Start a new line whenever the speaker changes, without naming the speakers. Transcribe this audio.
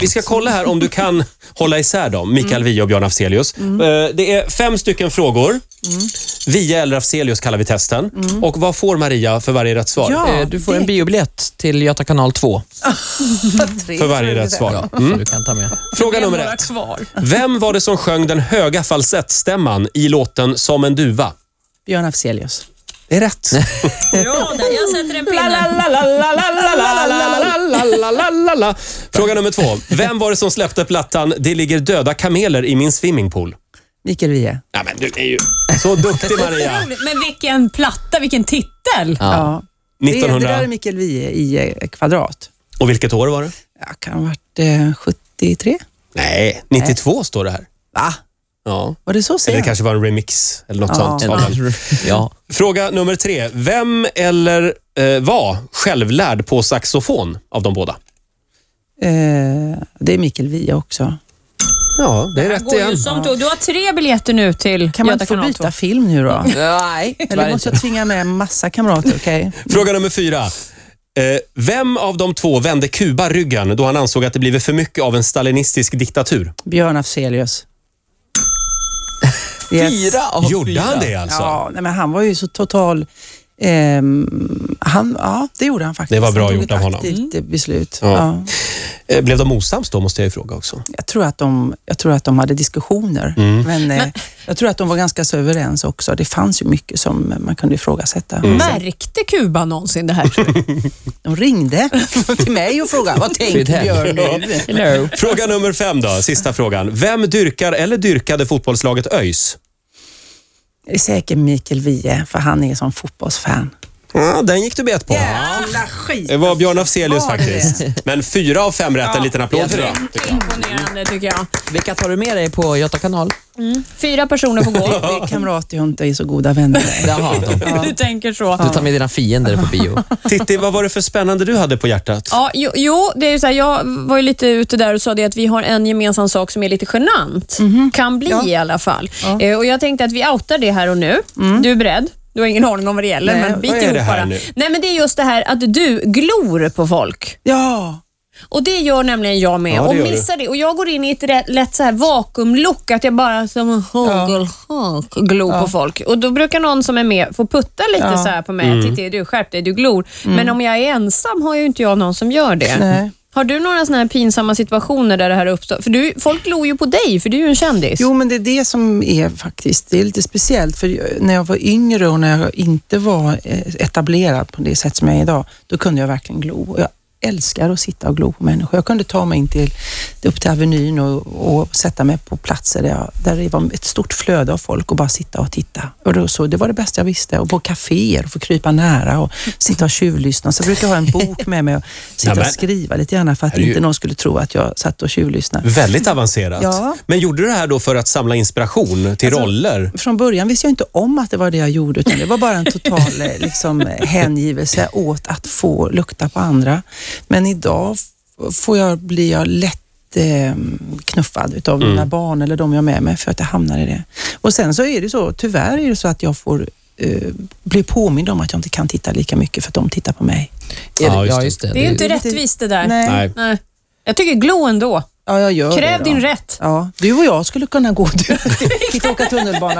Vi ska kolla här om du kan hålla isär dem, Mikael
Mm.
Wiehe och Björn Afzelius. Eh, Det är fem stycken frågor. Wiehe eller Afzelius kallar vi testen. Och vad får Maria för varje rätt svar?
Mm. Ja,
Eh, Du får en biobiljett till Göta kanal 2
tre,
För varje rätt
tror jag det är.
svar. Mm.
som du kan ta med.
Fråga nummer
några
ett.
kvar.
Vem var det som sjöng den höga falsettstämman i låten Som en duva?
Björn Afzelius.
Det är rätt.
Bra där, jag sätter en pinne.
Lalalalalalalalalala. Fråga nummer två. Vem var det som släppte plattan Det ligger döda kameler i min swimmingpool?
Mikael Wiehe.
Ja, men du är ju så duktig Maria.
Men vilken platta, vilken titel!
Ja. Det, är- det där är
1900...
Mikael Wiehe i eh, kvadrat.
Och vilket år var det?
Jag kan ha varit eh, 73.
Nej, 92 står det här.
Va?
Ja.
Var det så
Eller det
sent?
kanske var en remix eller något
Ja.
sånt. av den.
Ja.
Fråga nummer tre. Vem eller eh, var självlärd på saxofon av de båda?
Eh, det är Mikael Wiehe också.
Ja, det är rätt
Går ju
igen.
som tåg. Du har tre biljetter nu till
Kan man
Göta
inte få
kanal
byta
2.
film nu då?
Nej,
Eller
tyvärr
måste
inte.
jag tvinga med en massa kamrater? Okej.
Fråga nummer fyra. Eh, vem av de två vände Kuba ryggen då han ansåg att det blivit för mycket av en stalinistisk diktatur?
Björn Afzelius. Yes.
Fyra av
Gjorde
fyra.
han det alltså?
Ja, nej, men han var ju så total... ehm, han, ja, det gjorde han faktiskt.
Det var bra
han tog
gjort
ett
av honom.
aktivt eh, beslut.
Ja.
Ja.
Eh, blev de osams då måste jag ju fråga också.
Jag, tror att de, jag tror att de hade diskussioner, men, eh, jag tror att de var ganska så överens också. Det fanns ju mycket som man kunde ifrågasätta.
Mm. Märkte Kuba någonsin det här? tror du?
De ringde till mig och frågade, vad
Fint
tänker
hem.
Björn nu?
Hello.
Fråga nummer fem då, sista frågan. Vem dyrkar eller dyrkade fotbollslaget ÖIS?
Det är säkert Mikael Wiehe, för han är som fotbollsfan.
Ja, den gick du bet på.
Jävla skit!
Det var Björn Afzelius
Var det
faktiskt. Men fyra av fem rätt. En liten applåd
jag
för det.
Imponerande tycker jag.
Vilka tar du med dig på Göta kanal?
Fyra personer får gå.
Det är kamrater jag inte är så goda vänner med.
Jaha, de.
Du tänker så.
Du tar med dina fiender på bio.
Titti, vad var det för spännande du hade på hjärtat?
Ja, jo, jo det är ju så här, jag var ju lite ute där och sa det att vi har en gemensam sak som är lite genant. Kan bli i alla fall. Eh, och Jag tänkte att vi outar det här och nu. Du är beredd? Du har ingen aning om vad det gäller,
Nej,
men bit
vad är
ihop
det här
bara.
nu?
Nej, men det är just det här att du glor på folk.
Ja,
Och Det gör nämligen jag med
Ja, det
och
gör du.
missar det. Och Jag går in i ett rätt, lätt så här vakuumlock, att jag bara som en hagelhank glor på folk. Och Då brukar någon som är med få putta lite så här på mig. Titta, du skärp dig, du glor. Men om jag är ensam har ju inte jag någon som gör det.
Nej.
Har du några såna här pinsamma situationer där det här uppstår? För du, folk glor ju på dig, för du är ju en kändis.
Jo, men det är det som är faktiskt, det är lite speciellt, för jag- när jag var yngre och när jag inte var eh, etablerad på det sätt som jag är idag, då kunde jag verkligen glo. Och Jag älskar att sitta och glo på människor. Jag kunde ta mig in till, upp till Avenyn och, och sätta mig på platser där, jag, där det var ett stort flöde av folk och bara sitta och titta. Och då, så, det var det bästa jag visste. Och på kaféer och få krypa nära och sitta och tjuvlyssna. Så jag brukar ha en bok med mig och sitta
Nämen.
och skriva lite gärna för att
Här är ju-
inte någon skulle tro att jag satt och tjuvlyssnade.
Väldigt avancerat.
Ja. Alltså,
Men gjorde du det här då för att samla inspiration till roller?
från början visste jag inte om att det var det jag gjorde, utan det var bara en total eh, liksom, eh, hängivelse åt att få lukta på andra. Men idag f- får jag, blir jag lätt eh, knuffad utav mina barn eller de jag har med mig för att jag hamnar i det. Och sen så är det så, tyvärr är det så att jag får eh, bli påmind om att jag inte kan titta lika mycket för att de tittar på mig.
Är
Ja,
det-
just
Ja,
det.
just det.
det är ju inte
lite-
rättvist det där.
Nej.
Nej.
Nej. Jag tycker glo ändå.
Ja, jag gör
Kräv
det då.
din rätt.
Ja, du och jag skulle kunna gå till, till åka tunnelbana